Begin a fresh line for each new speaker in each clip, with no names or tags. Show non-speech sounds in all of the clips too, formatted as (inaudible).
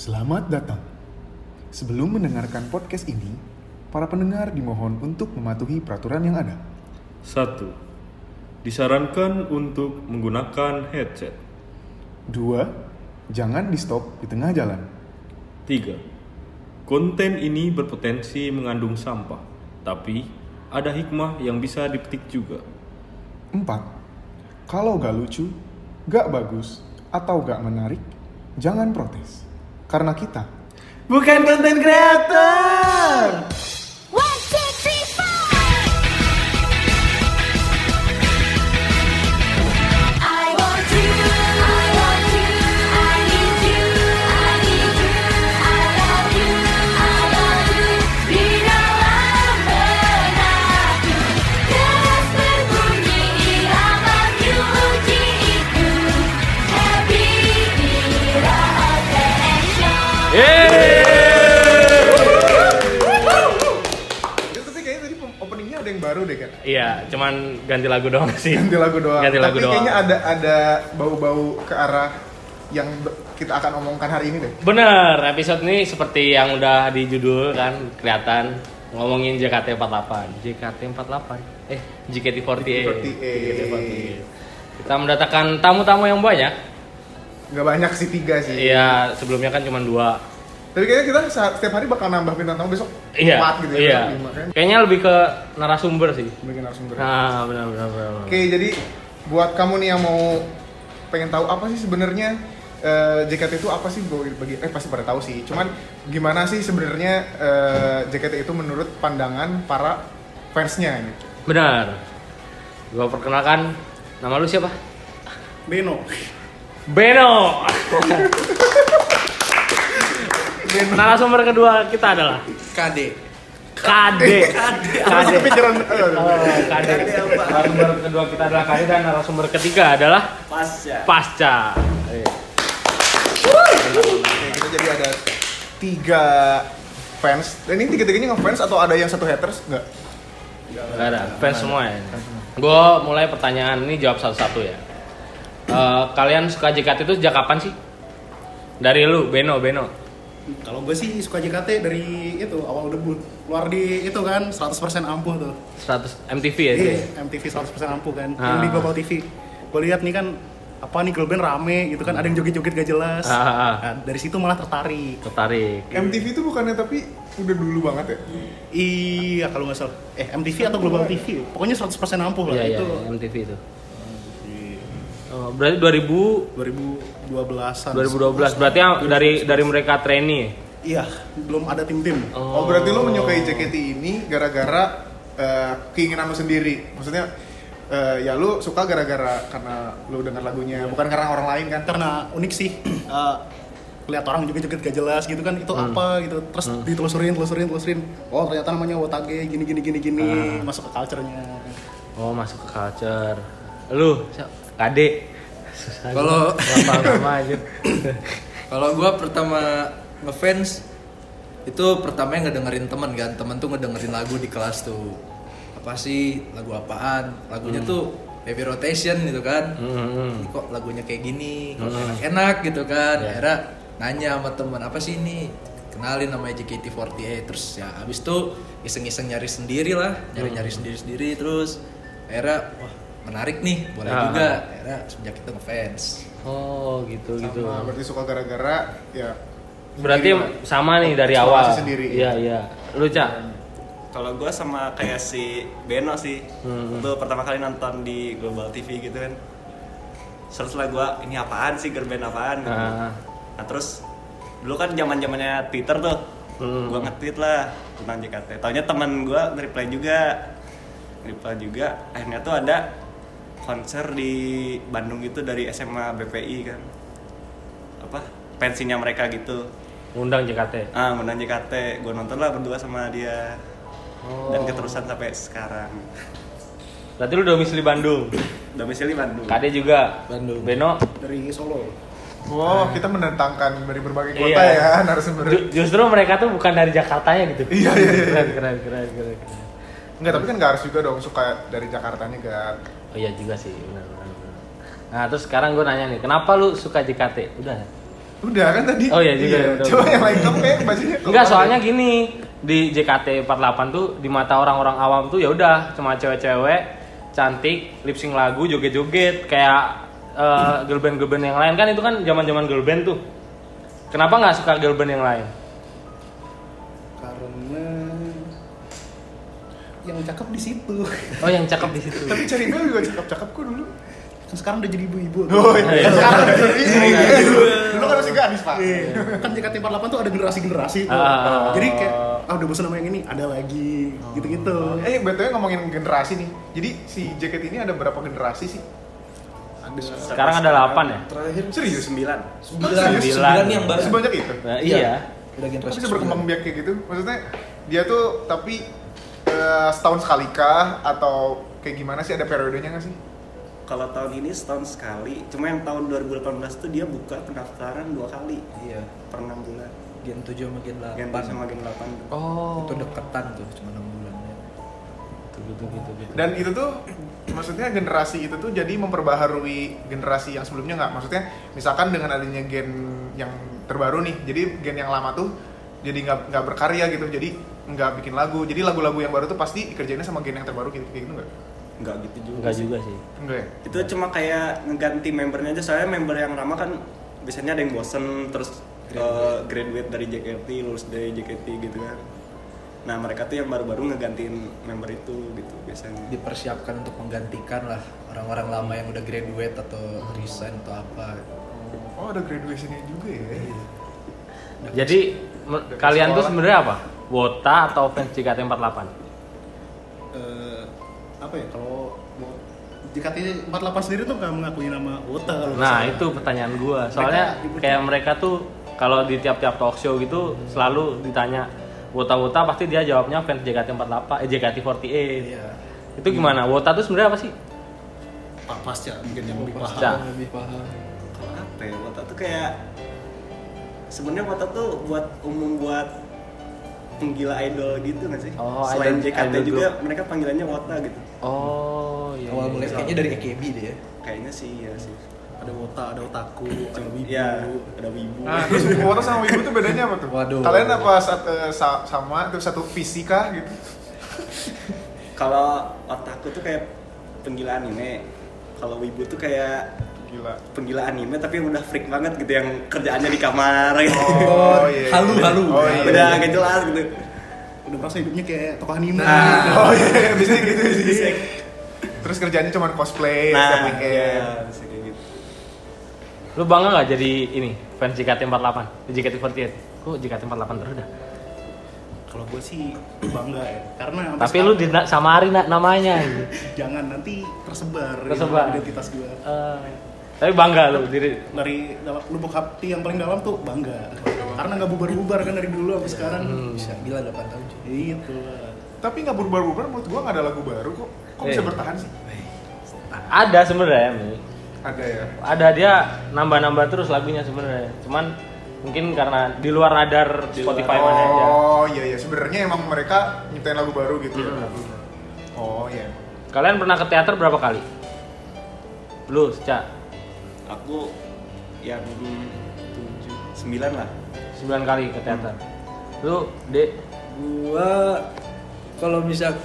Selamat datang. Sebelum mendengarkan podcast ini, para pendengar dimohon untuk mematuhi peraturan yang ada.
1. Disarankan untuk menggunakan headset.
2. Jangan di stop di tengah jalan.
3. Konten ini berpotensi mengandung sampah, tapi ada hikmah yang bisa dipetik juga.
4. Kalau gak lucu, gak bagus, atau gak menarik, jangan protes. Karena kita
Bukan konten kreator.
One, two, three, four. I want you. I want you. I need you. I need you. I love you. I love you. Bila benakku terus berbunyi irama mujiku. Happy Ira OTM Show.
Itu sih kayaknya tadi openingnya ada yang baru deh kan?
Iya, cuman ganti lagu doang sih.
(laughs) Ganti lagu doang.
Ganti lagu
Tapi
doang.
kayaknya ada ada bau-bau ke arah yang be- kita akan omongkan hari ini deh.
Bener, episode ini seperti yang udah di judul kan kelihatan ngomongin JKT48. JKT48. Eh, JKT48.
JKT48.
Kita mendatangkan tamu-tamu yang banyak.
Gak banyak sih tiga sih.
Iya, sebelumnya kan cuma dua.
Tapi kayaknya kita sa- setiap hari bakal nambah bintang tamu besok
Iya.
empat gitu ya.
iya.
besok lima kan.
Kayaknya lebih ke narasumber sih.
Bikin narasumber.
Nah, benar benar benar. benar.
Oke, jadi buat kamu nih yang mau pengen tahu apa sih sebenarnya eh, JKT itu apa sih bagi bagi- eh pasti pada tahu sih. Cuman gimana sih sebenarnya eh, JKT itu menurut pandangan para fansnya
(laughs)
gitu.
Benar. Gua perkenalkan nama lu siapa?
Beno.
Beno. Narasumber kedua kita adalah
KD.
KD. KD.
Masih kepikiran
Oh,
eh,
KD.
KD apa?
Narasumber kedua kita adalah KD dan narasumber ketiga adalah
Pasca.
Pasca.
Oke, kita jadi ada tiga fans. Dan ini tiga-tiganya ngefans atau ada yang satu haters? Enggak.
Gak ada, fans semua ya. Gue mulai pertanyaan ini jawab satu-satu ya. Eh, kalian suka JKT itu sejak kapan sih? Dari lu, Beno, Beno.
Kalau gue sih suka JKT dari itu awal debut. Keluar di itu kan 100% ampuh tuh.
100 MTV ya itu. ya?
Iya, MTV 100% ampuh kan.
Ah.
Yang di Global TV. Gue lihat nih kan apa nih girl band rame gitu kan ada yang joget-joget gak jelas.
Ah, ah, ah.
Nah, dari situ malah tertarik.
Tertarik.
MTV itu bukannya tapi udah dulu banget ya.
Iya kalau nggak salah. Eh MTV atau Global TV. Pokoknya 100% ampuh lah
Iya, iya,
itu.
MTV itu.
Di
Oh, berarti 2000
2012-an.
2012 berarti yang dari dari mereka trainee.
Iya, belum ada tim-tim.
Oh, berarti lo menyukai JKT ini gara-gara eh, keinginan lo sendiri. Maksudnya eh, ya lo suka gara-gara karena lo dengar
Ya,
lagunya, bukan karena orang lain kan?
karena unik sih (clears throat) eh, lihat orang joget-joget gak jelas gitu kan itu
Hmm.
apa gitu terus ditelusurin telusurin telusurin oh ternyata namanya wotage gini gini gini gini
Hmm.
masuk ke culture-nya
Oh, masuk ke culture. Lu, KD.
Kalau-
lama-lama aja.
Kalau gua pertama ngefans itu pertama yang ngedengerin temen kan, temen tuh ngedengerin lagu di kelas tuh apa sih lagu apaan? Lagunya tuh Baby Rotation gitu kan,
Hmm. Mm-hmm.
Ini kok lagunya kayak gini, kok enak-enak gitu kan. Akhirnya nanya sama temen apa sih ini? Kenalin namanya JKT48 terus ya abis itu iseng-iseng nyari sendiri lah, nyari-nyari sendiri-sendiri terus akhirnya wah menarik nih boleh
Ah.
juga akhirnya semenjak itu ngefans.
Oh, gitu gitu.
Sama, berarti suka gara-gara ya.
Berarti
sendiri.
sama nih dari
Eksplorasi
awal.
sendiri.
Iya, iya. Lu, Cak.
Kalau gue sama kayak si Beno sih,
Hmm.
itu pertama kali nonton di Global TV gitu kan. Terus lah gue ini apaan sih girl band apaan? gitu.
Ah.
Nah terus dulu kan zaman zamannya Twitter tuh,
Hmm.
gue nge-tweet lah tentang JKT. Taunya teman gue nge-reply juga, nge-reply juga. Akhirnya tuh ada konser di Bandung gitu dari SMA BPI kan, apa pensinya mereka gitu.
Ngundang JKT.
Ah, ngundang JKT, gue nonton lah berdua sama dia
Oh.
dan keterusan sampai sekarang
Berarti lu domisili Bandung.
domisili Bandung
KD juga.
Bandung.
Beno.
dari Solo
Wow, kita mendatangkan dari berbagai kota
(laughs)
Iya.
ya narasumber.
Ju- justru mereka tuh bukan dari Jakartanya gitu.
Iya, iya, iya.
Keren, keren, keren, keren. keren.
Enggak, tapi kan nggak harus juga dong suka dari Jakarta nih kan.
Oh iya juga sih, benar benar. benar. Nah terus sekarang gue nanya nih, kenapa lu suka JKT? Udah.
Udah kan tadi?
Oh, iya juga, udah,
Coba
udah.
yang Eh, lain ya, kamu kayak bajunya.
Enggak, soalnya gini, di JKT 48 tuh di mata orang-orang awam tuh ya udah cuma cewek-cewek cantik, lip sync lagu, joget-joget kayak eh, girl band-girl band yang lain kan itu kan zaman-zaman girl band tuh. Kenapa nggak suka girl band yang lain?
karena yang cakep di situ (laughs)
Oh, yang cakep di situ.
Tapi cari gue juga cakep-cakep kok dulu.
kan sekarang udah jadi ibu-ibu
(laughs)
Oh iya. Sekarang dulu. Dulu kan masih gadis, Pak.
Iya. kan JKT48 tuh ada generasi-generasi tuh.
Ah. Oh.
jadi kayak ah udah bosan sama yang ini ada lagi gitu-gitu
Eh, BTW ngomongin generasi nih. Jadi si jaket ini ada berapa generasi sih?
Sekarang ada 8 ya?
Terakhir
Serius?
sembilan
sembilan,
Serius?
sembilan yang baru.
Sebanyak itu?
Nah, iya.
Udah
Kok
generasi
bisa
sembilan.
berkembang biak kayak gitu? Maksudnya dia tuh tapi eh, setahun sekali kah atau kayak gimana sih ada periodenya nggak sih?
kalau tahun ini setahun sekali cuma yang tahun 2018 tuh dia buka pendaftaran dua kali
Iya,
per enam bulan
gen 7 sama gen 8.
gen 4 sama gen 8
Oh.
Itu deketan tuh, cuma 6 bulan ya.
gitu gitu gitu.
Dan itu tuh maksudnya generasi itu tuh jadi memperbaharui generasi yang sebelumnya nggak? Maksudnya misalkan dengan adanya gen yang terbaru nih, jadi gen yang lama tuh jadi nggak nggak berkarya gitu, jadi nggak bikin lagu. Jadi lagu-lagu yang baru tuh pasti dikerjainnya sama gen yang terbaru gitu kayak gitu nggak?
nggak gitu juga
Enggak
sih.
juga sih.
Enggak ya?
itu cuma kayak ngeganti membernya aja soalnya member yang lama kan biasanya ada yang bosen terus eh, graduate dari JKT lulus dari JKT gitu kan nah mereka tuh yang baru-baru ngegantiin member itu gitu biasanya
Dipersiapkan untuk menggantikan lah orang-orang lama yang udah graduate atau resign atau apa.
Oh ada graduationnya juga ya?
Jadi me- kalian tuh sebenarnya apa? Wota atau fans JKT48?
Eh, apa ya kalau mau JKT 48 sendiri tuh nggak mengakui nama Wota kalau nggak
Nah
salah.
itu pertanyaan gua soalnya kayak mereka tuh kalau di tiap-tiap talk show gitu selalu ditanya Wota-Wota pasti dia jawabnya fans JKT48 eh JKT48
Iya.
itu gimana Wota tuh sebenarnya apa sih
Pa- pasca mungkin yang lebih paham
Pasca.
lebih paham.
kalau apa ya Wota tuh kayak sebenarnya Wota tuh buat umum buat penggila idol gitu nggak sih
Oh,
selain
idol-
JKT
idol
juga mereka panggilannya Wota gitu
oh iya,
Awal
iya.
mulai kayaknya dari AKB deh ya.
kayaknya sih ya sih
ada Wota ada otaku ada wibu
ya ada wibu
Ah.
Nah, terus Wota sama Wibu tuh bedanya apa tuh?
Waduh.
Kalian apa sat- eh, sa- sama terus satu visi kah gitu?
kalau otakku tuh kayak penggila anime kalau wibu tuh kayak
Gila.
penggila anime tapi yang udah freak banget gitu yang kerjaannya di kamar (laughs) gitu.
Oh, iya.
Halu, halu.
Oh iya.
udah gak jelas gitu
udah merasa hidupnya kayak tokoh anime
Nah.
Oh iya, bisa gitu sih. Terus kerjanya cuma cosplay setiap
nah iya,
weekend.
bisa kayak gitu
lu bangga nggak jadi ini fans JKT48 di JKT48 kok JKT48 terus dah
kalau gue sih bangga ya karena sampai
tapi lu
sekarang-
dina- samarin na- namanya gitu.
(laughs) jangan nanti tersebar,
Tersebar.
gitu, identitas gue
Eh, tapi bangga lu diri
dari dalam lubuk hati yang paling dalam tuh bangga karena nggak bubar-bubar kan dari dulu sampai sekarang
Hmm.
Bisa gila 8 tahun cuy.
gitu lah.
Tapi nggak berubah-ubah menurut gua nggak ada lagu baru kok. Kok bisa
Iya.
bertahan sih?
ada sebenarnya Mi.
Ada ya.
ada dia nambah-nambah terus lagunya sebenarnya cuman mungkin karena di luar radar Spotify mana aja
Oh iya iya, sebenarnya emang mereka nyiptain lagu baru gitu ya. Oh iya.
kalian pernah ke teater berapa kali lu Ca?
aku yang tujuh sembilan lah
9 kali ke teater lu dek
Gua kalau bisa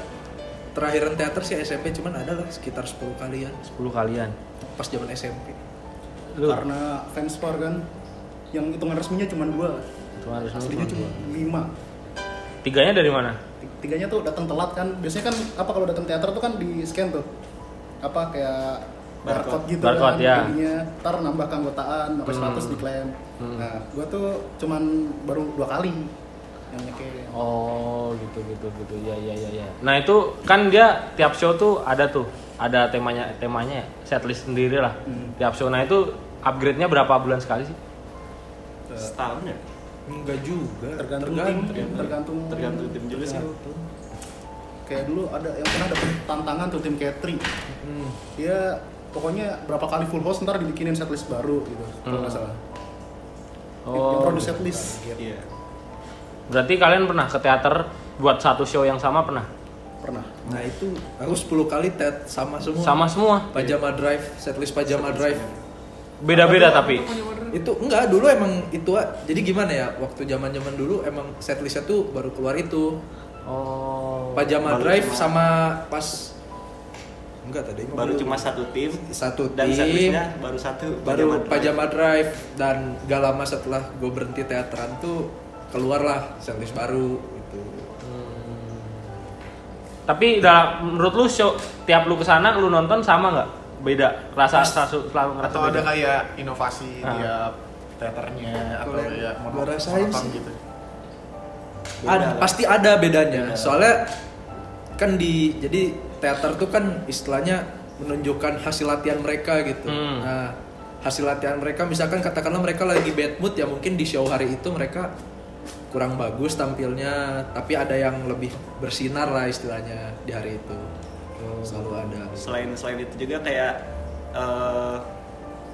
terakhiran teater sih SMP cuman ada lah sekitar 10 kalian
10 kalian
pas zaman SMP.
lu
karena fanspar kan yang hitungan resminya cuma dua
Cuma harus
aslinya
nonton.
cuma lima
tiganya dari mana
Tig- tiganya tuh datang telat kan biasanya kan apa kalau datang teater tuh kan di scan tuh apa kayak
Barcode.
barcode gitu
Barcode,
kan
ya.
jadinya ntar nambah keanggotaan sampai
Hmm.
100 diklaim
Hmm.
nah gua tuh cuman baru dua kali yang kayak
oh gitu gitu gitu ya ya ya ya nah itu kan dia tiap show tuh ada tuh ada temanya temanya ya, setlist sendiri lah
Hmm.
tiap show nah itu upgrade nya berapa bulan sekali sih
setahun ya
Enggak juga.
tergantung tim tergantung
tergantung tim juga sih
Tergantung.
kayak dulu ada yang pernah dapet tantangan tuh tim catering
Hmm.
dia pokoknya berapa kali full house ntar dibikinin setlist baru gitu kalau
Hmm. Oh.
nggak salah yang produce setlist
iya
Berarti kalian pernah ke teater buat satu show yang sama pernah?
pernah
Nah itu aku 10 kali tet sama semua.
Sama semua.
Pajama Drive, setlist Pajama Drive.
Beda-beda tapi.
itu enggak dulu emang itu a- jadi gimana ya waktu zaman zaman dulu emang setlistnya tuh baru keluar itu
Oh.
pajama
Baru
drive
cuma-
sama pas enggak tadi
baru cuma satu
Oh,
tim
iya. Satu
dan
tim.
setlistnya baru satu
baru
Drive.
pajama drive dan gak lama setelah gue berhenti teateran tuh keluarlah setlist baru gitu
Tapi dalam menurut lu show tiap lu kesana lu nonton sama nggak? Beda rasa selalu selalu ngerasa
atau
beda.
ada kayak inovasi
Ah.
tiap teaternya atau
Kalau
ya
yang
mono-
gua rasain
monoton
sih.
gitu
ada pasti ada bedanya soalnya kan di jadi teater tuh kan istilahnya menunjukkan hasil latihan mereka gitu
Hmm.
nah hasil latihan mereka misalkan katakanlah mereka lagi bad mood ya mungkin di show hari itu mereka kurang bagus tampilnya tapi ada yang lebih bersinar lah istilahnya di hari itu selalu ada
selain selain itu juga kayak eh,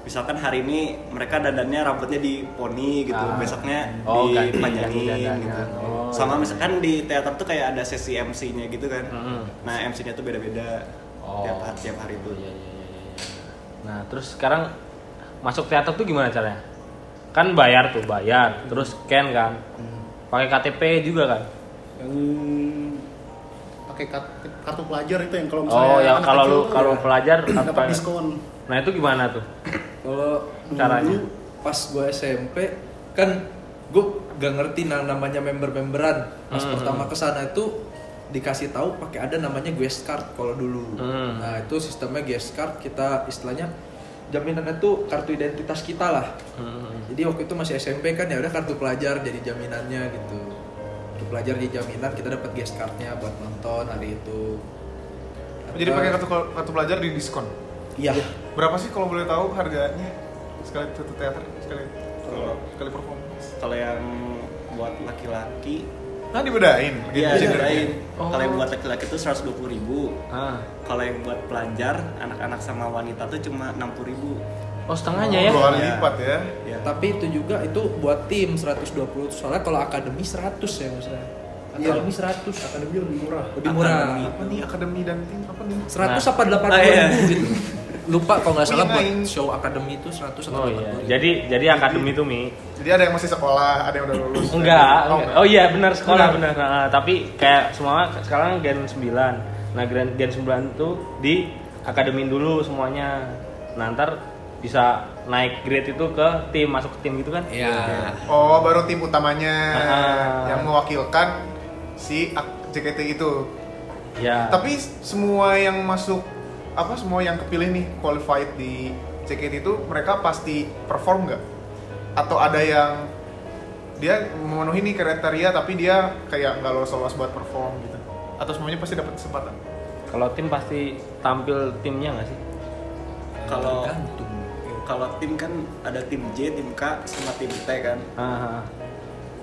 misalkan hari ini mereka dadannya rambutnya di poni gitu
Ah.
besoknya
Oh, ganti- ganti
dipanjangin
dadanya.
gitu
Oh,
sama misalkan di teater tuh kayak ada sesi MC-nya gitu kan
Mm-mm.
nah MC-nya tuh beda-beda tiap hari tiap hari itu
Oh. Iya, iya, iya, iya. Nah, terus sekarang masuk teater tuh gimana caranya? Kan bayar tuh, bayar. Terus scan kan. Pakai KTP juga kan.
yang pakai kartu, kartu pelajar itu yang kalau misalnya
Oh, yang
anak
kalau
kecil
lu
tuh
kalau
ya
pelajar apa?
dapat diskon
Nah, itu gimana tuh?
Kalau
Caranya?
dulu pas gue SMP kan gue gak ngerti nah, namanya member-memberan. Pas
Hmm.
pertama kesana itu dikasih tahu pakai ada namanya guest card kalau dulu.
Hmm.
Nah itu sistemnya guest card kita istilahnya jaminannya tuh kartu identitas kita lah.
Hmm.
Jadi waktu itu masih SMP kan ya udah kartu pelajar jadi jaminannya gitu. Kartu pelajar jadi jaminan kita dapat guest cardnya buat nonton hari itu.
jadi pakai kartu kartu pelajar di diskon
Iya.
berapa sih kalau boleh tahu harganya sekali satu teater sekali sekali performance
kalau yang buat laki-laki
nah dibedain
Iya.
dia
gender.
dibedain
Oh.
kalau yang buat laki-laki tuh 120.000 ribu
Ah.
kalau yang buat pelajar anak-anak sama wanita tuh cuma 60.000 ribu
Oh, setengahnya ya.
dua kali
Iya.
lipat ya
ya
Tapi itu juga itu buat tim 120 soalnya kalau akademi 100 ya maksudnya. Akademi 100
akademi lebih murah
lebih murah.
Akademi.
apa nih akademi dan tim apa nih
100 apa 80
Ah, iya.
gitu. Lupa kalau nggak salah buat
Winaing.
show akademi itu 100 atau
Oh
80.
iya. Jadi jadi akademi tuh Mi.
jadi ada yang masih sekolah ada yang udah lulus
(laughs) Enggak.
oh,
enggak. Oh iya benar sekolah benar. Nah, tapi kayak semua sekarang Gen 9. Nah, Gen Gen 9 tuh di akademin dulu semuanya. Nah, ntar bisa naik grade itu ke tim, masuk ke tim gitu kan?
Iya.
oh baru tim utamanya
Ah.
yang mewakilkan si ak- JKT itu
Iya.
Tapi semua yang masuk apa semua yang kepilih nih qualified di JKT itu mereka pasti perform nggak? Atau ada yang dia memenuhi nih kriteria tapi dia kayak nggak lolos lolos buat perform gitu? Atau semuanya pasti dapat kesempatan?
kalau tim pasti tampil timnya nggak sih?
kalau
Tergantung.
kalau tim kan ada tim J, tim K, sama tim T kan.
Ah,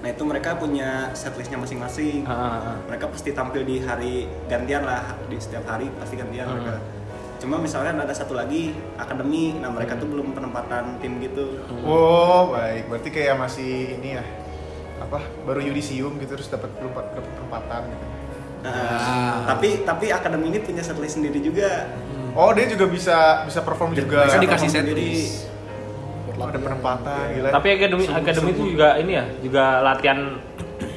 Nah itu mereka punya setlistnya masing-masing.
ah, ah, ah.
Mereka pasti tampil di hari gantian lah di setiap hari pasti gantian
Hmm.
mereka. Cuma misalkan ada satu lagi akademi, nah mereka
Hmm.
tuh belum penempatan tim gitu.
Oh baik, berarti kayak masih ini ya apa baru yudisium gitu terus dapat perempat dapat perempatan gitu.
Nah,
Ah.
Tapi tapi akademi ini punya setlist sendiri juga.
Oh dia juga bisa bisa perform juga.
Mereka dikasih
perform
setlist.
sendiri.
Oh, ada penempatan gila.
Tapi akademi akademi itu juga ini ya, juga latihan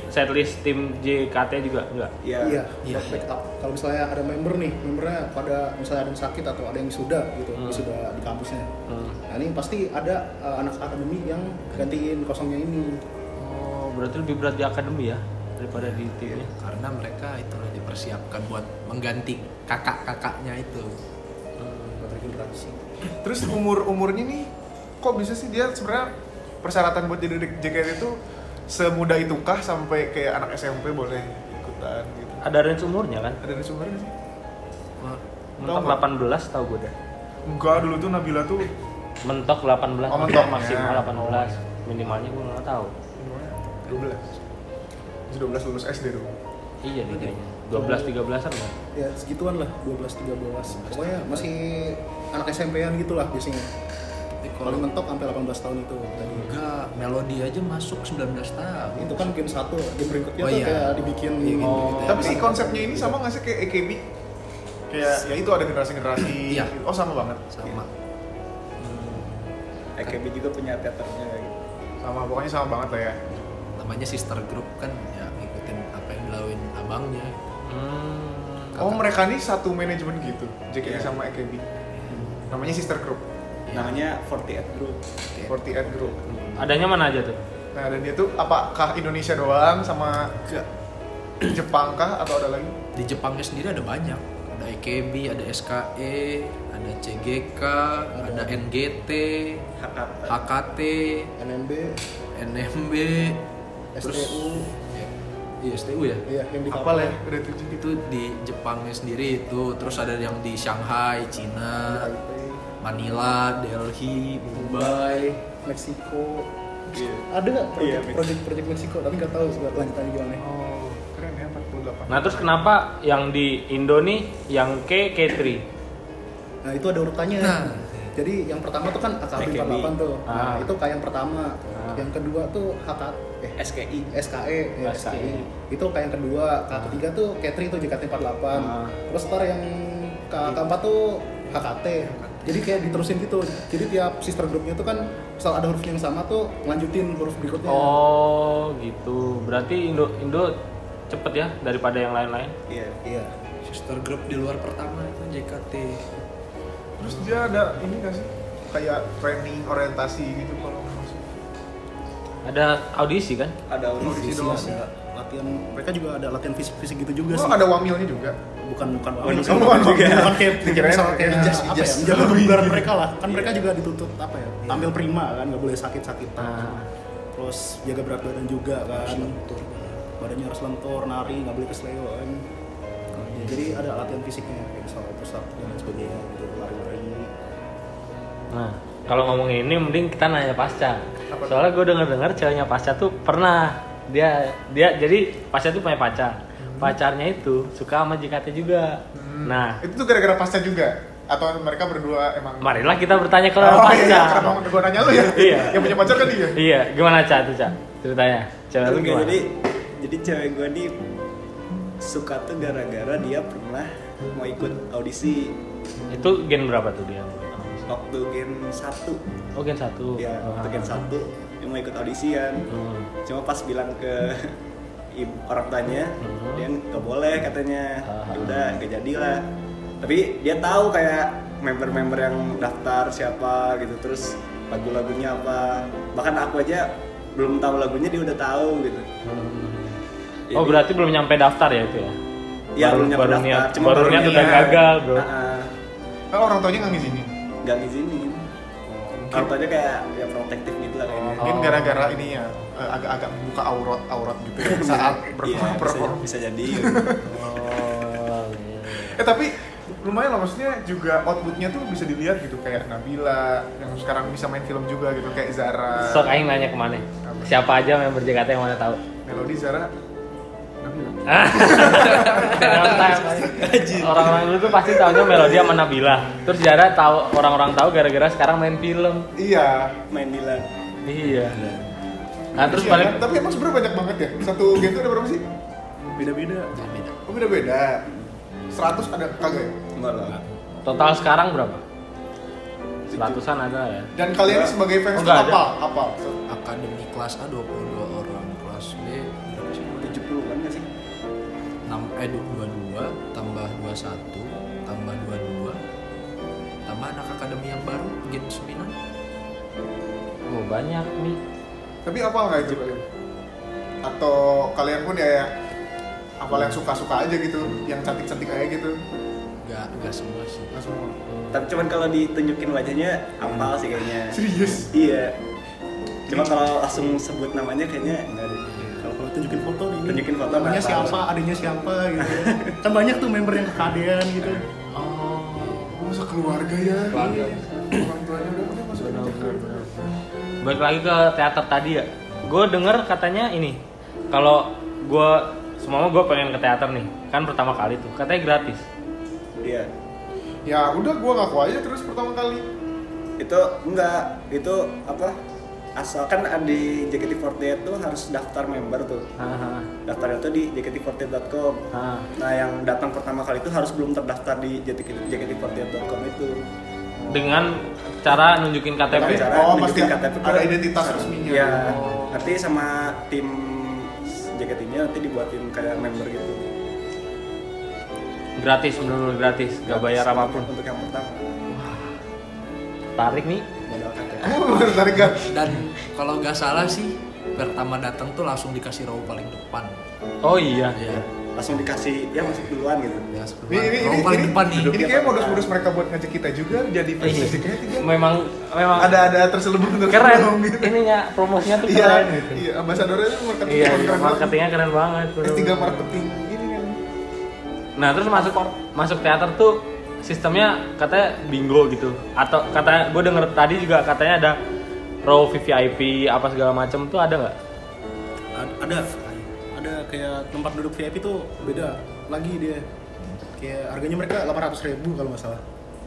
setlist tim JKT juga enggak?
Ya.
Iya, iya. backup. Kalau misalnya ada member nih, membernya pada misalnya ada yang sakit atau ada yang sudah gitu, sudah di kampusnya.
Hmm.
Nah ini pasti ada eh, anak akademi yang gantiin kosongnya ini.
Oh, berarti lebih berat di akademi ya daripada di ya.
Iya.
timnya.
Karena mereka itu udah dipersiapkan buat mengganti kakak-kakaknya itu.
Buat regenerasi.
Terus umur umurnya nih kok bisa sih dia sebenarnya persyaratan buat jadi JKT itu semudah itukah sampai kayak anak SMP boleh ikutan gitu?
Ada range umurnya kan?
Ada dari sumbernya sih?
Mentok
Tahu nggak?
18 tahu gue dah.
Enggak dulu tuh Nabila tuh
Mentok 18.
Oh, mentok.
maksimal
Ya.
18. Minimalnya gue nggak tahu.
gimana? 12 Masih 12 lulus SD dulu
Iya deh kayaknya. 12 13 an kan?
Ya segituan lah, 12-13. Pokoknya masih anak SMP-an gitulah biasanya.
Tapi
Paling
kalau
mentok sampai 18 tahun itu tadi.
enggak melodi aja masuk 19 tahun.
Itu kan game satu, game berikutnya
Hmm. Oh,
tuh
iya.
kayak dibikin Iya.
Iya, gitu,
gitu.
gitu ya.
Tapi si konsepnya ini sama nggak sih kayak EKB? Kayak ya itu ada generasi-generasi
Iya.
Oh sama banget
sama.
AKB juga punya teaternya
Iya.
gitu.
sama pokoknya sama banget lah ya
namanya sister group kan ya ngikutin apa yang dilakuin abangnya
oh mereka nih satu manajemen gitu JKT
Iya.
sama AKB namanya sister group
namanya 48 Group
48 group
Hmm. Adanya mana aja tuh?
nah dan dia tuh apakah Indonesia doang sama Jepang kah atau ada lagi
di Jepangnya sendiri ada banyak ada EKB, ada SKE, ada CGK, ada NGT,
Hakata
HKT,
NMB,
NMB, terus
STU.
ya, iya STU ya.
iya yang di kapal
Apal ya udah tujuh gitu
Itu di Jepangnya sendiri itu, terus ada yang di Shanghai, Cina, Manila, Delhi, Mumbai.
Meksiko. Ada nggak project,
Iya, Meksiko.
project, project Meksiko? Tapi nggak tahu sebenarnya lanjutannya gimana.
oh keren ya 48
Nah terus kenapa yang di Indo nih yang K K3?
Nah itu ada urutannya.
Nah.
Jadi yang pertama tuh kan AKB
AKB.
48 tuh. Nah,
Ah.
itu kayak yang pertama. Yang kedua tuh HK eh
SKI
SKE, ya,
SKE.
SKE. Itu kayak yang kedua. K ketiga tuh K3 tuh JKT48.
Ah.
Terus ntar yang K keempat tuh HKT. Jadi kayak diterusin gitu. Jadi tiap sister groupnya tuh kan misal ada huruf yang sama tuh lanjutin huruf
Iya.
berikutnya.
Oh gitu. Berarti Indo Indo cepet ya daripada yang lain-lain.
iya
Iya.
Sister group di luar pertama itu JKT.
terus dia ada ini nggak sih kayak training orientasi gitu kalau masuk
Ada audisi kan?
ada
Audisi
audisi
doang.
Ada latihan mereka juga ada latihan fisik-fisik gitu juga
Oh,
sih.
ada wamilnya juga.
bukan bukan
Oh, bukan
bukan
bukan juga.
bukan kayak
Dikirain
misal kayak
kayak
jas
apa
jas
ya,
jalan kebugaran mereka lah kan mereka juga dituntut apa ya tampil prima kan nggak boleh sakit sakitan terus jaga berat badan juga kan badannya harus lentur nari nggak boleh kesleo kan Ya, jadi ada latihan fisiknya kayak misal push up dan lain sebagainya gitu lari-lari
Nah kalau ngomongin ini mending kita nanya pasca.
Apa?
Soalnya gue denger dengar ceweknya pasca tuh pernah dia dia jadi pasca tuh punya pacar.
Hmm.
Pacarnya itu suka sama JKT juga. Nah
Itu tuh gara-gara pasca juga atau mereka berdua emang
marilah kita bertanya ke
Oh,
pasca.
iya, iya, kenapa gua nanya lu ya?
Iya.
(laughs) Yang punya pacar kan dia.
Iya, gimana Ca tuh Ca? Ceritanya. Cewek lu
Enggak,
gimana?
jadi jadi cewek gue nih suka tuh gara-gara dia pernah mau ikut audisi
Itu gen berapa tuh dia?
waktu gen 1
Oh gen 1.
Iya,
ya waktu gen 1 dia mau ikut audisi kan
Hmm.
cuma pas bilang ke ibu- orang tanya
Hmm.
dia nggak boleh katanya
Ah.
ya udah nggak jadilah tapi dia tahu kayak member-member yang daftar siapa gitu terus lagu-lagunya apa bahkan aku aja belum tahu lagunya dia udah tahu gitu
Hmm. Oh
Jadi-
berarti belum nyampe daftar ya itu ya?
Iya,
baru,
belum nyampe
baru
daftar,
niat,
cuma
baru
baru
niat
niat.
udah gagal bro.
Ah,
Oh, orang tuanya nggak ngizinin.
nggak
Oh,
ngizinin orang tuanya kayak ya protektif gitu lah kayaknya
Mungkin gara-gara ini ya eh, agak-agak membuka aurat-aurat gitu ya, saat
Iya,
berperform.
bisa, bisa jadi gitu.
Oh, iya.
Eh tapi lumayan loh maksudnya juga outputnya tuh bisa dilihat gitu kayak Nabila yang sekarang bisa main film juga gitu kayak Zara,
Sok aing nanya kemana?
Apa?
Siapa aja member JKT yang mana
(laughs)
tahu?
Melody Zara, Nabila.
Stereotype. Orang-orang dulu tuh pasti tahunya Melody sama Nabila. Terus Zara tahu orang-orang tahu gara-gara sekarang main film.
Iya.
main Dilan
Iya. Nah terus
Iya,
paling
kan? tapi emang sebenarnya banyak banget ya. Satu geng tuh ada berapa sih?
beda-beda
Oh, beda-beda. 100 ada kagak ya?
enggak lah
total sekarang berapa? Seratusan ada ya.
Dan kalian ini sebagai fans tuh
Enggak ada.
apa? Apa?
Akademi kelas A 22 orang, kelas B berapa sih?
70 kan nggak sih
6 eh 22 tambah 21 tambah 22 tambah anak akademi yang baru gen 9
Oh banyak nih.
Tapi apa nggak itu kalian? Atau kalian pun ya ya, apa yang suka-suka aja gitu, yang cantik-cantik aja gitu,
enggak enggak semua sih
nggak semua.
tapi cuman kalau ditunjukin wajahnya apal sih kayaknya
Serius?
iya cuma kalau langsung sebut namanya kayaknya nggak ada
kalau kalau tunjukin foto nih
Tunjukin foto,
namanya
nggak tahu.
siapa adanya siapa gitu kan banyak tuh member yang kekadean gitu
Oh, sekeluarga ya. Keluarga. Orang tuanya udah udah masuk ke Jakarta.
Balik lagi ke teater tadi ya. Gue denger katanya ini kalau gue semua gue pengen ke teater nih kan pertama kali tuh katanya gratis
iya
Ya udah, gua ngaku aja terus pertama kali.
itu enggak itu apa asalkan ada di JKT48 tuh harus daftar member tuh
Hahaha.
daftarnya tuh di jkt48.com
Ah.
nah yang datang pertama kali itu harus belum terdaftar di jkt48.com itu
dengan cara nunjukin KTP.
Cara
Oh,
nunjukin
pasti
KTP
ada
kan.
identitas resminya.
Iya. Nanti sama tim JKT-nya nanti dibuatin kayak member gitu.
Gratis, bener-bener gratis, gak bayar apapun.
Untuk yang pertama.
Tarik nih.
Modal KTP.
Baru tarik kan?
dan kalau nggak salah sih pertama datang tuh langsung dikasih row paling depan
Oh iya.
ya
Langsung dikasih ya masuk duluan gitu.
ya
Ini, ini,
row
ini,
paling
ini,
depan nih
ini kayak ya, modus-modus mereka buat ngajak kita juga jadi
Iya.
fans JKT kan?
Memang memang
Ada ada terselubung
keren.
terselubung (laughs) gitu.
Ininya promosinya tuh
Iya,
keren gitu.
iya, ambasadornya tuh marketing
Iya,
keren banget.
marketingnya keren banget.
S3
bener-bener.
marketing gini kan.
Nah terus masuk masuk teater tuh sistemnya katanya bingo gitu atau katanya gue denger tadi juga katanya ada row VIP apa segala macem tuh ada nggak?
Ad- ada ada kayak tempat duduk VIP tuh beda lagi dia kayak harganya mereka 800.000 kalau nggak salah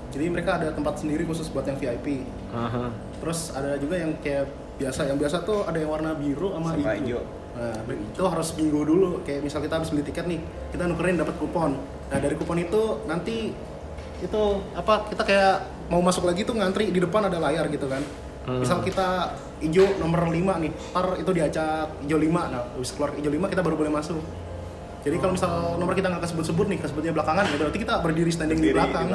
jadi mereka ada tempat sendiri khusus buat yang VIP
Aha.
terus ada juga yang kayak biasa yang biasa tuh ada yang warna biru sama,
Sama
hijau
hijau.
nah itu harus minggu dulu kayak misal kita harus beli tiket nih kita nukerin dapat kupon nah dari kupon itu nanti itu apa kita kayak mau masuk lagi tuh ngantri di depan ada layar gitu kan misal kita hijau nomor 5 nih par itu diacak hijau 5 nah habis keluar hijau 5 kita baru boleh masuk jadi kalau misal nomor kita nggak kesebut-sebut nih kesebutnya belakangan ya berarti kita Oh. berdiri standing di
Diri
belakang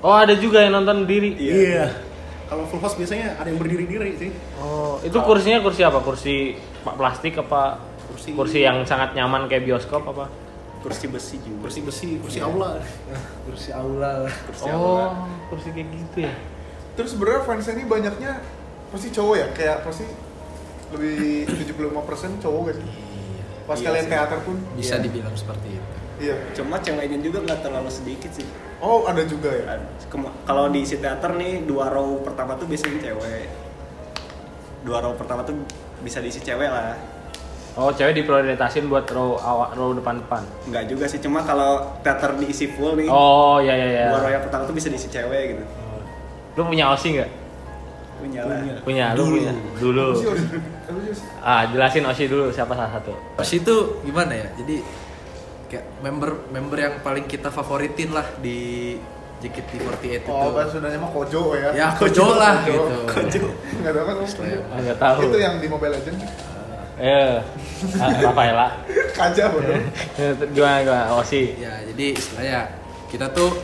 Oh ada juga yang nonton diri.
iya kalau full house biasanya ada yang berdiri-diri sih
Oh itu kursinya kursi apa? Kursi pa- plastik apa?
Kursi-
kursi yang sangat nyaman kayak bioskop apa?
Kursi besi juga.
kursi besi, kursi aula.
kursi aula lah
Kursi
Oh
aula.
kursi kayak gitu ya.
Terus sebenarnya fansnya ini banyaknya pasti cowok ya, kayak pasti lebih 75% cowok gak sih? Pas
Iya
kalian
sih.
teater pun,
bisa dibilang seperti itu
iya.
Cuma ceweknya juga nggak terlalu sedikit sih.
Oh, ada juga ya.
Kema- Kalau di isi teater nih dua row pertama tuh biasanya cewek. Dua row pertama tuh bisa diisi cewek lah.
Oh cewek diprioritasin buat row awak row depan depan.
Nggak juga sih, cuma kalau teater diisi full nih,
Oh ya ya ya.
dua row yang pertama tuh bisa diisi cewek gitu.
Lu punya osi nggak?
Punya lah.
Punya. Lu punya. Dulu.
Apa sih, Os? Apa sih, Os?
Ah jelasin osi dulu siapa salah satu.
pas itu gimana ya jadi kayak member member yang paling kita favoritin lah di JKT48 itu
Oh, bahasa Sundanya mah kojo ya.
Gitu. ya kojo lah
Kojo.
gitu
Kojo. Enggak tahu kan kamu kojo.
Ah, nggak tahu.
Itu yang di Mobile Legends. (laughs)
Eh, ah, Rafaela.
Kaca bodoh.
Eh, Gimana gimana Osi?
ya jadi istilahnya kita tuh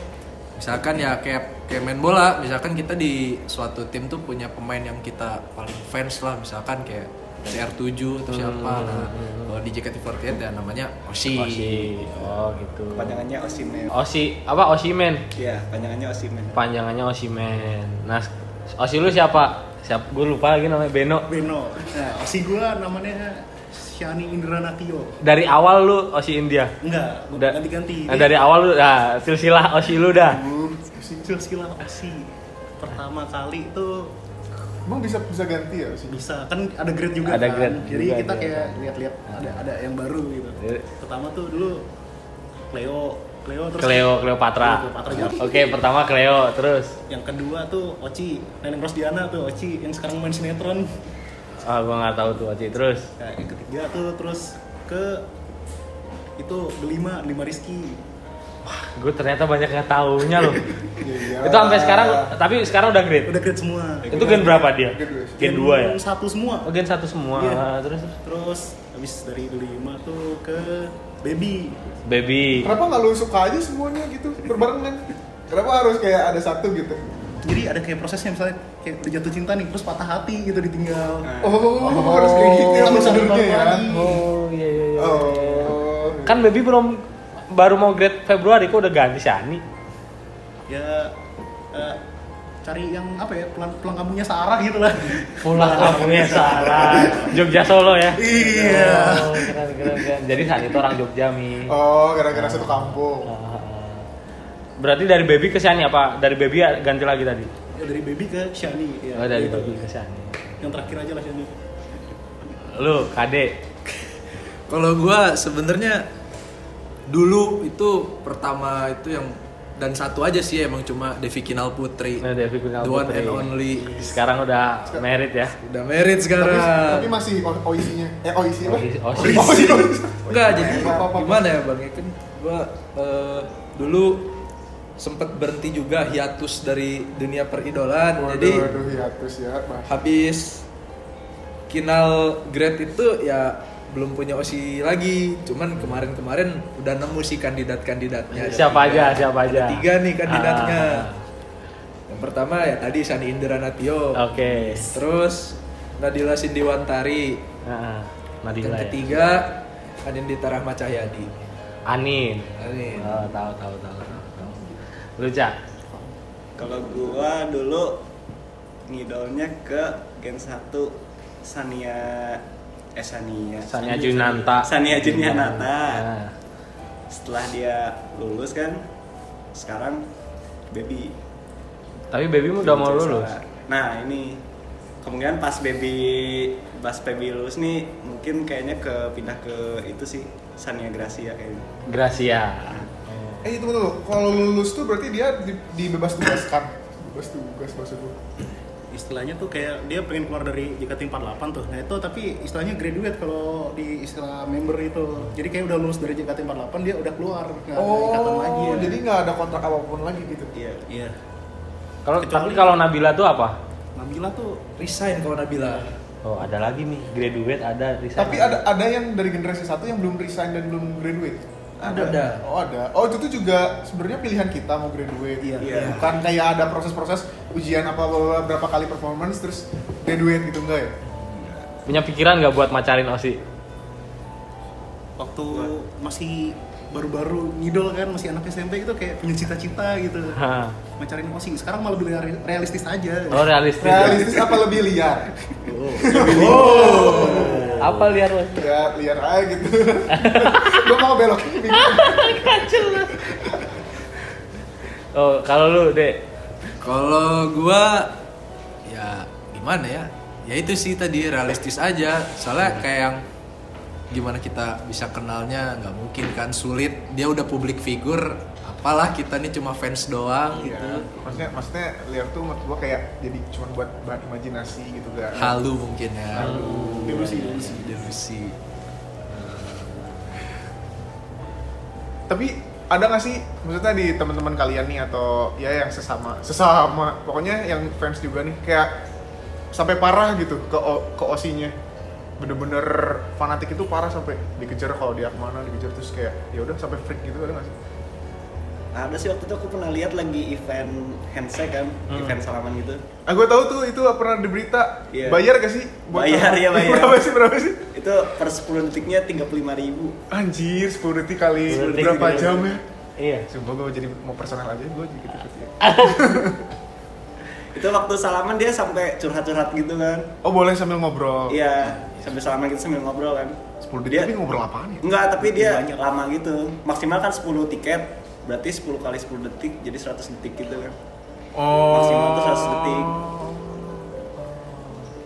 misalkan ya kayak kayak main bola misalkan kita di suatu tim tuh punya pemain yang kita paling fans lah misalkan kayak CR7 atau siapa nah kalau di JKT48 ya namanya Oshi,
Osi. Oh gitu.
Panjangannya Osimen.
Osi apa Osimen?
Iya, panjangannya Osimen.
Panjangannya Osimen. Nah, Osi lu siapa? Siapa? Gue lupa lagi namanya Beno.
Beno. Nah, si gua namanya Shani Indra Natio.
Dari awal lu Osi India.
Enggak, gua
Da-
ganti-ganti.
Nah, dari awal lu nah, silsilah Osi lu dah.
silsilah Osi. Pertama kali itu
Emang bisa bisa ganti ya sih?
bisa kan ada grade juga
Ada
kan.
grade
Jadi
juga
kita
dia.
kayak lihat-lihat ada ada yang baru gitu.
Iya.
Pertama tuh dulu Cleo, Cleo terus
Cleo Cleopatra.
Cleopatra Jati.
Oke, pertama Cleo, terus
Yang kedua tuh Oci, Neneng Rosdiana tuh Oci yang sekarang main sinetron.
ah gua nggak tahu tuh Osi. Terus
Nah, yang ketiga tuh terus ke itu delima, delima Rizky.
gue ternyata banyak nggak taunya loh.
Iya.
Itu sampai sekarang tapi sekarang udah grade.
Udah grade semua.
Itu gen berapa dia?
Gen dua.
Gen 2 ya.
satu semua.
Oh, gen 1 semua.
Iya.
Terus terus.
Terus habis dari delima tuh ke baby.
baby.
Kenapa nggak lu suka aja semuanya gitu berbarengan? Kenapa harus kayak ada satu gitu?
Jadi ada kayak prosesnya misalnya kayak udah jatuh cinta nih, terus patah hati gitu ditinggal.
Oh, harus kayak gitu ya
Kita bisa
prosedurnya
berbagi.
ya.
Oh, iya iya iya.
Oh.
Kan baby belum baru mau grade Februari kok udah ganti Shani.
Ya eh, cari yang apa ya pulang pulang kampungnya Sarah gitu lah.
(laughs) Pulang kampungnya salah. Jogja Solo ya.
Iya.
Oh, keren, keren, keren. Jadi Shani itu orang Jogja mi.
Oh, gara-gara satu kampung.
Ah. Berarti dari baby ke Shani apa? Dari baby ganti lagi tadi.
Ya, dari baby ke Shani. Ya,
Oh, dari
gitu.
baby ke Shani.
Yang terakhir aja lah Shani.
Lu KD.
Kalau gua sebenarnya dulu itu pertama itu yang dan satu aja sih ya, emang cuma Devi Kinal Putri.
Nah, Devi Kunal
The one
Putri.
and only.
Sekarang udah merit ya.
Udah married
Tapi,
sekarang.
tapi masih o- OIC-nya. Eh, OIC apa?
Osi-
Osi.
Osi. (laughs)
Osi.
Enggak jadi
Apa, apa, apa.
gimana ya Bang? Ya kan gua eh, dulu sempet berhenti juga hiatus dari dunia peridolan
Waduh,
jadi
waduh, hiatus ya, bahas.
habis kinal grade itu ya belum punya osi lagi cuman kemarin-kemarin udah nemu sih kandidat-kandidatnya ya,
Siapa aja,
Ada
siapa aja?
tiga nih kandidatnya
Ya. Ah.
yang pertama ya tadi Sani Indra Natio
Oke.
terus Nadila Sindiwantari
Nah,
yang
Nadila. ya.
ketiga Anindita Rahma Cahyadi
Anin.
Amin.
Oh, tahu tahu tahu. tahu, tahu. Lu Cak?
Kalau gua dulu ngidolnya ke Gen 1 Sania eh Sania
Sania Junanta.
Sania Junianata.
Nah.
Setelah dia lulus kan sekarang baby
Tapi baby udah mau lulus.
Nah, ini kemungkinan pas baby pas baby lulus nih mungkin kayaknya ke pindah ke itu sih Sania Gracia kayaknya.
Gracia.
Eh tunggu tunggu, kalau lulus tuh berarti dia di, dibebas tugaskan. Bebas tugas maksud gua.
istilahnya tuh kayak dia pengen keluar dari JKT48 tuh nah itu tapi istilahnya graduate kalau di istilah member itu jadi kayak udah lulus dari JKT48 dia udah keluar nggak ada ikatan lagi
Oh,
ya.
jadi nggak ada kontrak apapun lagi gitu.
Iya.
iya
Kalau tapi
Kecuali-
kalau Nabila tuh apa?
Nabila tuh
resign kalau Nabila
Oh, ada lagi nih graduate ada resign.
Tapi ada ada yang dari generasi satu yang belum resign dan belum graduate.
ada,
Oh ada. Oh itu tuh juga sebenarnya pilihan kita mau graduate.
Iya.
Iya.
Bukan kayak ada proses-proses ujian apa apa- apa- berapa kali performance terus graduate gitu enggak ya?
punya pikiran nggak buat macarin Osi?
waktu masih baru-baru ngidol kan masih anak SMP itu kayak punya cita-cita gitu
Hah.
mencariin posing sekarang malah lebih real- realistis aja
Ah. Lo realistis. ya?
Realistis apa lebih liar?
Apa liar lo?
Ya liar aja gitu. Gua mau belok.
Oh, kalau lu, Dek.
Kalau gua ya gimana ya? Ya itu sih tadi realistis aja.
Iya.
Soalnya kayak yang gimana kita bisa kenalnya nggak mungkin kan sulit. Dia udah public figure, apalah kita nih cuma fans doang
Iya.
gitu.
Maksudnya maksudnya liar tuh maksud gua kayak jadi cuma buat bahan imajinasi gitu enggak.
Halu mungkin ya.
delusi delusi
Delusi.
Tapi ada nggak sih maksudnya di teman-teman kalian nih atau ya yang sesama sesama pokoknya yang fans juga nih kayak sampai parah gitu ke O- ke osinya bener-bener fanatik itu parah sampai dikejar kalau dia kemana dikejar terus kayak ya udah sampai freak gitu ada nggak sih
Nah, ada sih waktu itu aku pernah lihat lagi event handshake kan,
Hmm.
event salaman gitu.
ah gue tahu tuh itu pernah di berita
Iya.
bayar gak sih
Bayar, iya, bayar.
berapa sih berapa sih
Itu per 10 detiknya 35.000 ribu.
anjir 10 detik kali
10 detik
berapa
gitu.
jam ya
Iya.
Sumpah gue jadi mau personal aja gue jadi gitu ya.
Itu waktu salaman dia sampai curhat-curhat gitu kan.
Oh boleh sambil ngobrol.
Iya, sambil salaman gitu sambil ngobrol kan.
10 detik
Dia-
tapi ngobrol apaan ya?
Enggak, tapi dia lama gitu. Maksimal kan 10 tiket, berarti 10 kali 10 detik jadi 100 detik gitu kan.
Oh.
Maksimal tuh 100 detik.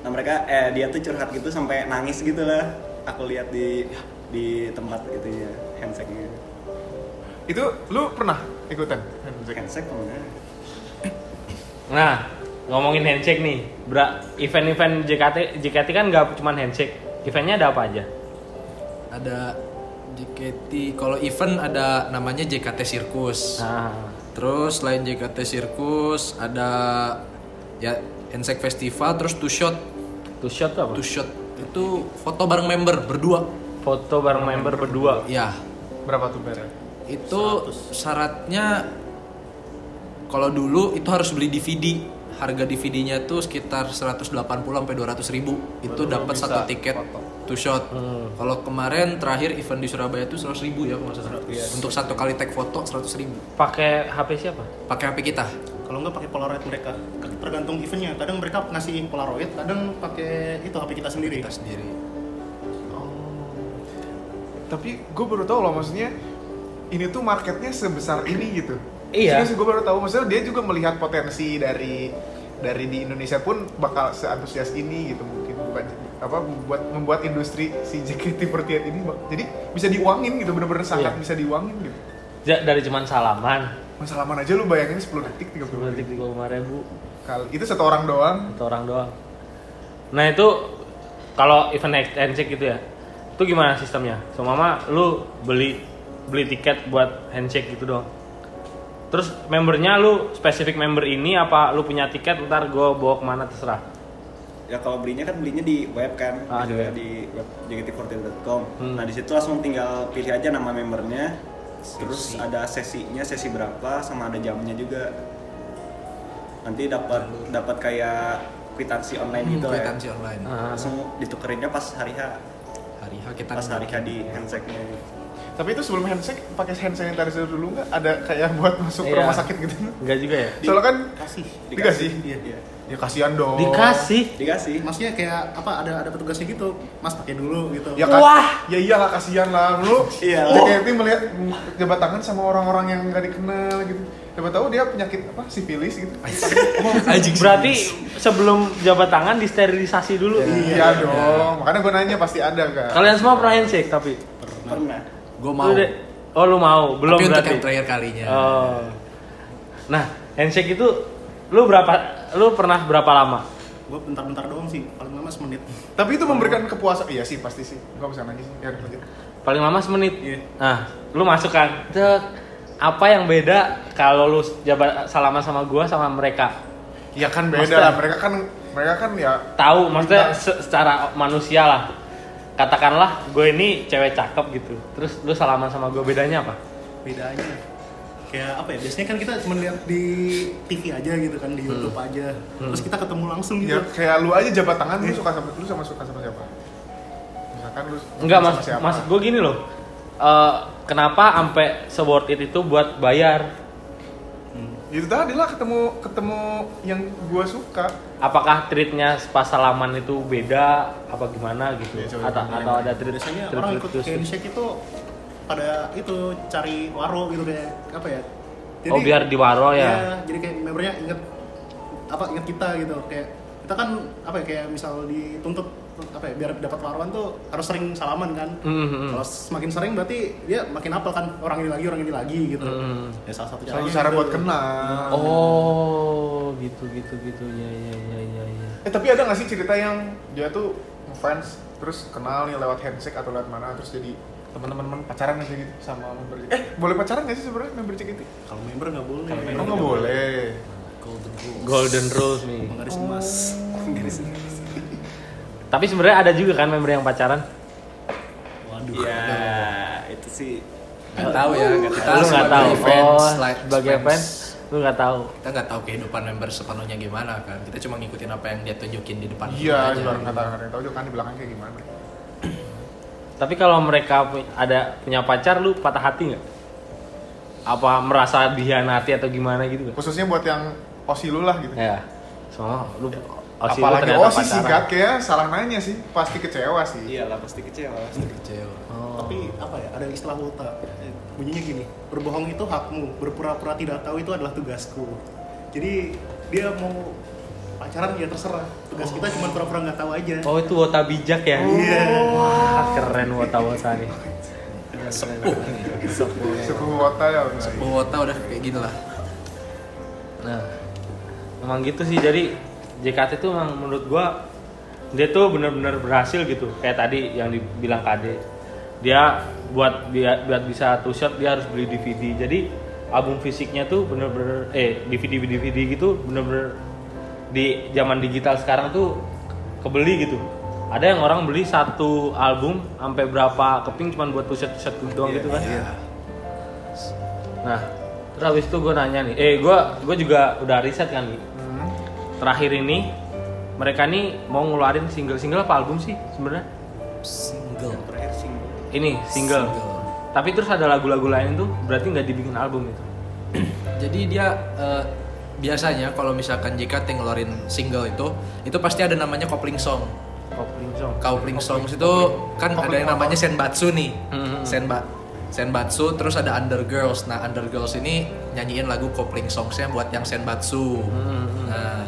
Nah, mereka eh dia tuh curhat gitu sampai nangis gitu lah. Aku lihat di di tempat gitu ya, handshake-nya.
Itu lu pernah ikutan?
Handshake kemana?
Nah, ngomongin handshake nih. Bra, event-event JKT JKT kan nggak cuman handshake. Eventnya ada apa aja?
Ada JKT kalau event ada namanya JKT Sirkus.
Nah,
Terus selain JKT Sirkus ada ya Insect Festival terus Two Shot.
two shot tuh apa?
Two Shot itu foto bareng member berdua.
Foto bareng member berdua.
Ya,
Berapa tuh bayarnya?
itu syaratnya kalau dulu itu harus beli DVD. Harga DVD-nya tuh sekitar 180 sampai 200 ribu. Itu dapat satu tiket two shot.
Hmm.
Kalau kemarin terakhir event di Surabaya itu 100 ribu ya kalau nggak salah.
Iya,
Untuk satu kali tag foto 100 ribu.
Pakai HP siapa?
Pakai HP kita.
kalau nggak pakai polaroid mereka kan tergantung eventnya kadang mereka ngasih polaroid kadang pakai itu HP kita sendiri
Kita sendiri.
Tapi gue baru tahu loh maksudnya ini tuh marketnya sebesar ini gitu.
Iya.
Serius gue baru tahu maksudnya dia juga melihat potensi dari dari di Indonesia pun bakal seantusias ini gitu mungkin bukan apa membuat membuat industri si JKT48 ini bak- jadi bisa diuangin gitu bener-bener sangat
Iya.
bisa diuangin gitu
Ja, dari cuman salaman.
masalah mana aja lu bayangin 10 detik 30
Berarti
detik
tiga ribu
kali itu satu orang doang
satu orang doang. Nah itu kalau event handshake gitu ya, itu gimana sistemnya? So mama, lu beli beli tiket buat handshake gitu dong. Terus membernya lu spesifik member ini apa lu punya tiket ntar gue bawa kemana terserah.
ya kalau belinya kan belinya di web kan
Ah, di
di,
web.
di web jgt48.com
Hmm.
nah di situ langsung tinggal pilih aja nama membernya terus ada sesinya sesi berapa sama ada jamnya juga nanti dapat dapat kayak kwitansi online gitu lah ya
kwitansi online.
Hmm, Ah.
langsung ditukerinnya pas hari H
Hari H kita
pas hari H
naikin.
di handshake-nya
Tapi itu sebelum handshake pakai hand sanitizer dulu nggak? Ada kayak buat masuk ke
Iya.
rumah sakit gitu?
Enggak juga ya?
Soalnya kan
kasih
dikasih.
Iya, iya.
Ya kasihan dong.
Oh. Dikasih.
dikasih
Nah,
maksudnya kayak apa ada ada petugasnya gitu mas pakai dulu gitu
Ya kan?
Wah.
Ya iyalah kasihan lah lu.
Iya.
JKT melihat jabat tangan sama orang-orang yang nggak dikenal gitu. Siapa tahu dia penyakit apa? Sifilis gitu.
Anjing sih.
Berarti sebelum jabat tangan disterilisasi dulu.
Iya dong. Makanya gue nanya pasti ada kan.
Kalian semua pernah handshake tapi
pernah
gua
Lu
mau.
deh- oh lu mau belum
Tapi untuk
berarti.
yang terakhir kalinya.
Oh. Nah handshake itu lu berapa lu pernah berapa lama?
gue bentar-bentar doang sih paling lama semenit
Tapi itu memberikan kepuasan. Iya sih pasti sih. Gua bisa nanya sih. Ya lanjut.
Paling lama semenit.
Iya.
Nah lu masuk kan. Cek. Apa yang beda kalau lu jabat salaman sama gua sama mereka?
Ya kan beda
Maksudnya-
lah. Mereka kan mereka kan ya
Tahu maksudnya se- secara manusia lah. Katakanlah gue ini cewek cakep gitu. Terus lu salaman sama gue bedanya apa?
bedanya kayak apa ya biasanya kan kita cuma lihat di TV aja gitu kan
Hmm.
di YouTube aja terus kita ketemu langsung
ya
gitu
kayak lu aja jabat tangan lu suka sama lu sama suka sama siapa? Misalkan lu suka
Enggak
sama
mas, mas gue gini loh. Eh, kenapa ampe se worth it itu buat bayar?
Ya Itu tadi lah ketemu ketemu yang gua suka.
Apakah treatnya pas salaman itu beda? Apa gimana gitu?
Iya, coba
atau,
gimana,
atau ada treat?
biasanya
treat-
orang
treat
ikut
khusus?
handshake itu pada itu cari waro gitu kayak apa ya
Oh biar diwaro
Iya,
ya.
jadi kayak membernya inget apa inget kita gitu kayak kita kan apa ya kayak misal dituntut apa ya biar dapat waruan tuh harus sering salaman kan
Mm, mm, mm.
kalau semakin sering berarti dia makin apel kan orang ini lagi orang ini lagi gitu
Mm.
ya salah satu
Satu
caranya
cara
gitu.
buat kenal.
Oh gitu gitu gitu ya ya ya ya. ya.
Eh tapi ada nggak sih cerita yang dia tuh fans terus kenal nih lewat handshake atau lewat mana terus jadi teman-teman pacaran aja gitu sama member JKT. Eh boleh pacaran nggak sih sebenarnya member JKT?
kalau member nggak boleh
Oh nggak boleh.
golden rule
Golden rules nih.
menggaris emas
Tapi sebenarnya ada juga kan member yang pacaran.
waduh
iya itu sih
Nggak tahu ya, kita
lu nggak tahu.
fans,
oh,
like,
sebagai fans, lu nggak tahu.
kita nggak tahu kehidupan member sepenuhnya gimana kan kita cuma ngikutin apa yang dia tunjukin di depan
Iya,
kita
di
aja.
bareng kata orang tahu juga kan di belakang kayak gimana.
Tapi kalau mereka pu- ada punya pacar, lu patah hati nggak? Apa merasa dihianati atau gimana gitu kan?
Khususnya buat yang osi lu lah gitu.
Ya, soalnya lu Osi lu
Apalagi
ternyata
osi sih
pacaran.
gak kayak salah nanya sih, pasti kecewa sih.
iyalah pasti kecewa pasti kecewa.
Kecewa.
tapi apa ya ada istilah ulta Eh, bunyinya gini berbohong itu hakmu berpura-pura tidak tahu itu adalah tugasku jadi dia mau pacaran ya terserah tugas kita cuma pura-pura nggak tahu aja
Oh itu wota bijak ya?
Iya.
Wah keren wota wota nih.
Suku wota ya. Bang.
Bogota udah kayak gini lah
Nah, emang gitu sih. Jadi JKT tuh emang menurut gua dia tuh bener-bener berhasil gitu. Kayak tadi yang dibilang KD, dia buat dia buat bisa two shot dia harus beli DVD. Jadi album fisiknya tuh bener-bener eh DVD DVD gitu bener-bener di zaman digital sekarang tuh kebeli gitu. Ada yang orang beli satu album sampai berapa keping cuman buat two shot two shot gitu doang gitu kan. Nah, terus habis itu gue nanya nih, eh gue gue juga udah riset kan nih. Terakhir ini mereka nih mau ngeluarin single-single apa album sih sebenarnya?
single
terakhir single
Ini single. Tapi terus ada lagu-lagu lain tuh, berarti nggak dibikin album itu.
jadi dia eh, biasanya kalau misalkan JKT ngeluarin single itu itu pasti ada namanya coupling song
Kopling song.
coupling songs itu kan ada yang namanya senbatsu nih
Hmm.
senba senbatsu terus ada undergirls nah undergirls ini nyanyiin lagu coupling songsnya buat yang senbatsu
Hmm,
nah,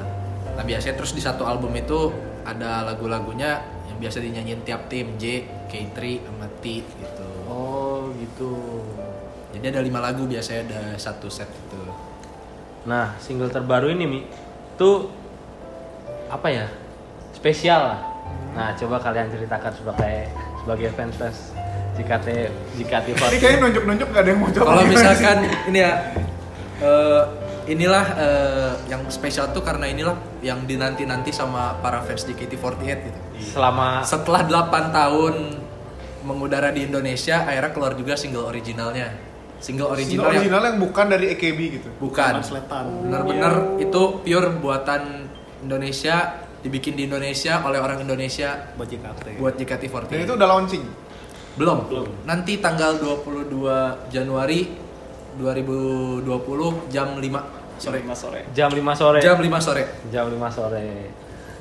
nah biasanya terus di satu album itu ada lagu-lagunya yang biasa dinyanyiin tiap tim J K3 sama T gitu
Oh gitu.
jadi ada lima lagu biasanya ada satu set gitu
Nah single terbaru ini mi tuh apa ya spesial lah. Nah coba kalian ceritakan sebagai sebagai fans fans JKT JKT
Ini kayaknya nunjuk-nunjuk gak ada yang mau jawab.
kalau misalkan ini ya eh, inilah eh, yang spesial tuh karena inilah yang dinanti-nanti sama para fans JKT48 gitu.
Ah.
Selama
Setelah 8 tahun mengudara di Indonesia, akhirnya keluar juga single originalnya. Single original,
Original,
yang
yang bukan dari EKB gitu.
bukan.
Sletan.
Bener-bener
Iya.
itu pure buatan Indonesia, dibikin di Indonesia oleh orang Indonesia
buat JKT.
buat JKT48.
Dan itu udah launching.
Belum. Nanti tanggal 22 Januari 2020 jam 5 sore.
Sore sore.
jam 5 sore.
Jam 5 sore.
Jam 5 sore.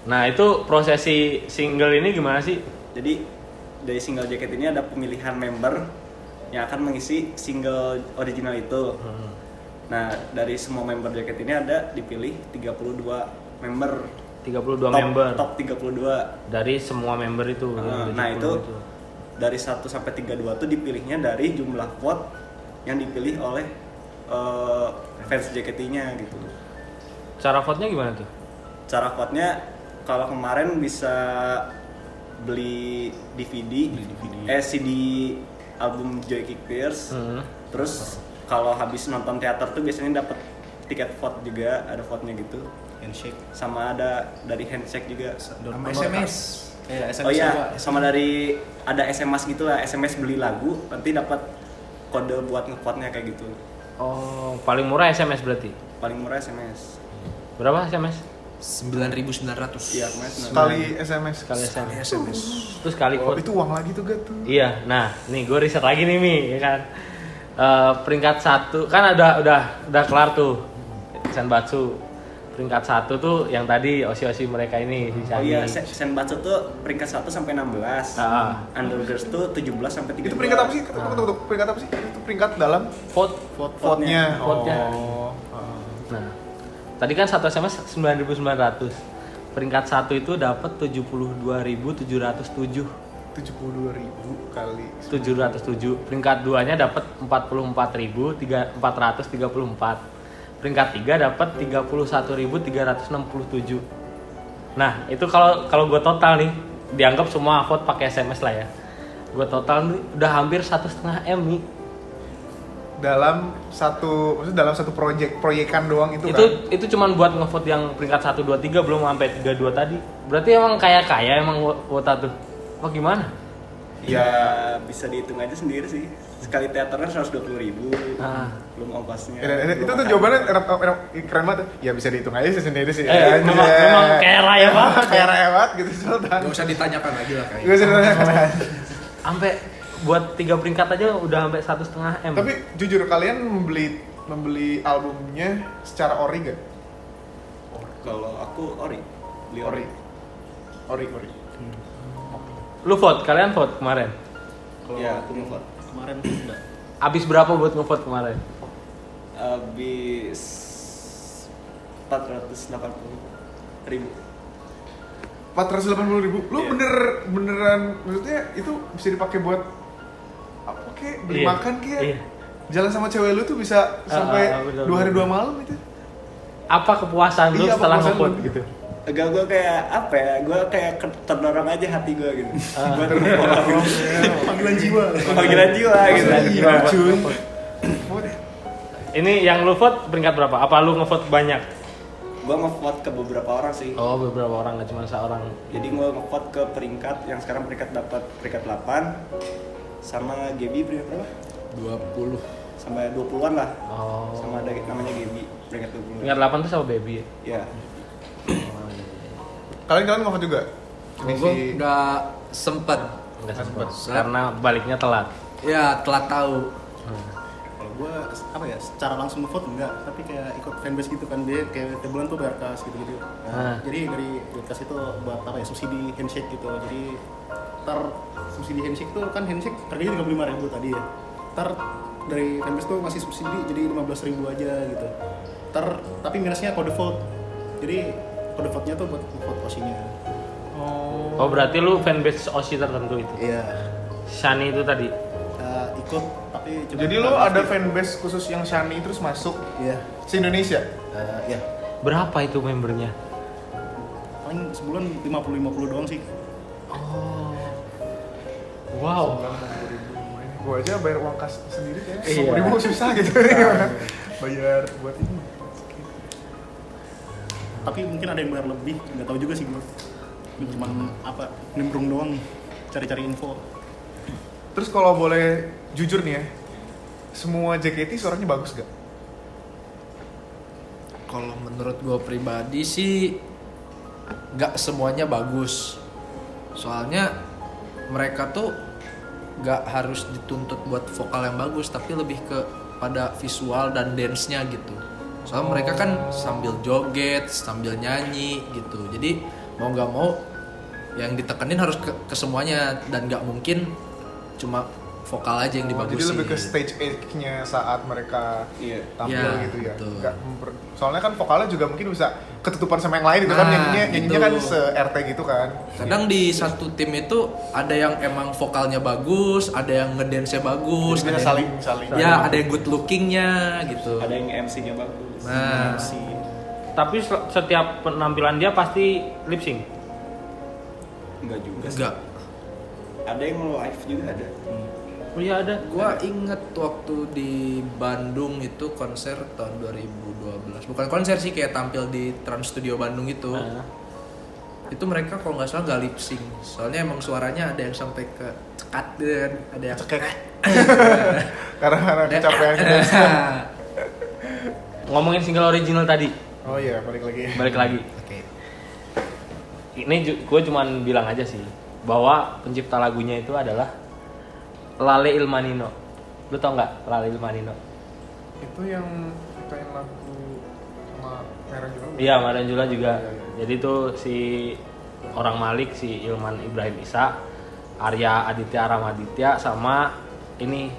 Nah, itu prosesi single ini gimana sih?
Jadi dari single jacket ini ada pemilihan member yang akan mengisi single original itu. Nah, dari semua member jacket ini ada dipilih 32 member.
32
top,
member
Top 32.
dari semua member itu.
Nah,
dari
nah,
10
itu dari 1 sampai 32 tuh dipilihnya dari jumlah vote yang dipilih oleh eh, fans JKT-nya gitu.
Cara vote-nya gimana tuh?
Cara vote-nya kalau kemarin bisa beli DVD, eh CD album Joy Kick Pierce.
Hmm.
Terus kalau habis nonton teater tuh biasanya dapat tiket vote juga, ada vote-nya gitu.
handshake
Sama ada dari handshake juga.
Sama SMS.
Iya, SMS
Oh
juga.
iya, sama dari ada SMS gitu lah, SMS beli lagu, nanti dapat kode buat ngevote-nya kayak gitu.
Oh, paling murah SMS berarti.
Paling murah SMS.
Berapa SMS?
9900.
Iya, kemarin sembilan-
Sekali SMS.
Sekali
Sekali
SMS.
SMS.
Terus kali
Oh,
vote.
itu uang lagi tuh gak tuh.
Iya, nah, nih gue riset lagi nih Mi, ya kan. Eh, peringkat satu kan ada udah udah kelar tuh Senbatsu. Peringkat satu tuh yang tadi osi-osi mereka ini si
Oh
Shani.
iya, Se- Senbatsu tuh peringkat 1 sampai 16.
Ah.
Undergirls tuh 17 sampai 13.
Itu peringkat apa sih? Tunggu, tunggu, tunggu. Peringkat apa sih? Itu peringkat dalam
Vote.
vote-nya.
Vote-nya.
Oh. ah.
Nah, tadi kan satu SMS 9.900. Peringkat satu itu dapat 72.707.
72.000 kali
707 peringkat 2 nya dapat 44.434 peringkat 3 dapat 31.367 nah itu kalau kalau gue total nih dianggap semua vote pakai sms lah ya gue total nih udah hampir satu setengah m nih
dalam satu maksudnya dalam satu proyek proyekan doang itu,
itu
kan?
itu cuman buat ngevote yang peringkat 1 2 3 belum sampai 32 tadi berarti emang kaya kaya emang kuota tuh apa gimana
Ya, bisa dihitung aja sendiri sih. Sekali teaternya 120 ribu,
Ah.
belum ongkosnya.
Ya, dan- dan
belum
itu tuh
makan.
jawabannya rap- rap- rap- keren banget ya bisa dihitung aja sih sendiri sih
Eh, memang- memang kaya raya banget. ya.
Iya, kayak raya banget gitu Sultan
Gak usah ditanyakan lagi lah
gue
Iya.
kayaknya.
sih nanya.
sampai buat tiga peringkat aja udah sampai satu setengah m
tapi jujur kalian membeli membeli albumnya secara ori gak?
Kalau aku ori, beli ori.
ori ori ori
lu vote kalian vote kemarin
Iya, aku ngevote.
kemarin tuh enggak.
Abis berapa buat ngevote kemarin?
habis 480 ribu
480 ribu lu
Iya.
bener beneran maksudnya itu bisa dipakai buat apa kek beli
Iya.
makan kek
Iya.
jalan sama cewek lu tuh bisa
Ah,
sampai
ah, ah, bener,
dua hari
bener.
dua malam itu
Apa kepuasan lu
Iya, apa
setelah
kepuasan
ngevote
lu?
gitu?
agak gue kayak apa ya gue kayak ke- terdorong aja hati gue gitu
Ah.
buat
Iya,
Panggilan jiwa.
panggilan jiwa gitu
iya cuy
Ini yang lu vote peringkat berapa? Apa lu ngevote banyak?
gue ngevote ke beberapa orang sih
Oh beberapa orang nggak cuma seorang.
jadi gue ngevote ke peringkat yang sekarang peringkat dapat peringkat 8 sama Gaby peringkat berapa?
20.
sama 20-an lah
Oh.
sama ada namanya Gaby peringkat 20
Peringkat 8 tuh sama baby. ya?
ya
kalian kalian ngobrol juga
Kalau Gue nggak sempet.
Nggak sempet.
Set.
Karena baliknya telat.
Ya telat tahu.
Kalau gua apa ya, secara langsung ngevote enggak, tapi kayak ikut fanbase gitu kan dia kayak tiap bulan tuh bayar kas gitu-gitu.
Ah.
Nah, Jadi dari duit kas itu buat apa ya, subsidi handshake gitu. Jadi ter subsidi handshake tuh kan handshake harganya 35 ribu tadi ya. Ter dari fanbase tuh masih subsidi jadi 15 ribu aja gitu. Ter tapi minusnya kode vote. Jadi kode vote-nya tuh buat vote posisinya.
Oh berarti lu fanbase osi tertentu itu.
Iya.
Shani itu tadi.
Eh, ikut tapi cuma
jadi lu ada fanbase khusus yang Shani terus masuk
Iya.
se Indonesia
Eh, iya.
Berapa itu membernya?
paling sebulan 50-50 doang sih
Wow.
gue aja bayar uang kas sendiri ya
Iya.
ribu susah gitu bayar buat ini
tapi mungkin ada yang bayar lebih nggak tahu juga sih gue Gue cuman apa nimbrung doang cari-cari info
terus kalau boleh jujur nih ya semua JKT suaranya bagus gak?
Kalau menurut gue pribadi sih nggak semuanya bagus. Soalnya mereka tuh nggak harus dituntut buat vokal yang bagus, tapi lebih ke pada visual dan dance-nya gitu. Soalnya mereka kan
Oh.
sambil joget, sambil nyanyi gitu. Jadi mau nggak mau yang ditekenin harus ke, ke semuanya dan nggak mungkin cuma vokal aja yang
Oh,
dibagusin.
jadi lebih ke stage age-nya saat mereka
Iya.
tampil
Iya,
gitu ya.
betul.
Nggak memper- soalnya kan vokalnya juga mungkin bisa ketutupan sama yang lain itu kan
Nah,
nyanyinya nyanyinya
gitu.
kan se RT gitu kan.
kadang di satu tim itu ada yang emang vokalnya bagus, ada yang ngedance bagus, ada
Jadi
yang,
saling saling
ya ada yang good lookingnya gitu.
ada yang MC-nya bagus
Nah,
Tapi se- setiap penampilan dia pasti lip sync.
enggak juga sih.
enggak.
ada yang live juga ada
Oh iya ada.
Gua inget waktu di Bandung itu konser tahun 2012. Bukan konser sih kayak tampil di Trans Studio Bandung itu.
Ah.
Itu mereka kalau nggak salah nggak lip sync. Soalnya emang suaranya ada yang sampai ke cekat gitu kan, ada yang
Cekek. Karena karena
Ada-
kecapean.
Ngomongin single original tadi,
Oh iya, balik lagi.
balik lagi.
Oke.
Ini gue cuman bilang aja sih bahwa pencipta lagunya itu adalah Lale Ilmanino. Lu tau nggak Lale Ilmanino?
Itu yang kita yang lagu sama merah juga.
Iya, Maranjula juga. Jadi itu si orang Malik si Ilman Ibrahim Isa, Arya Aditya Ramaditya sama ini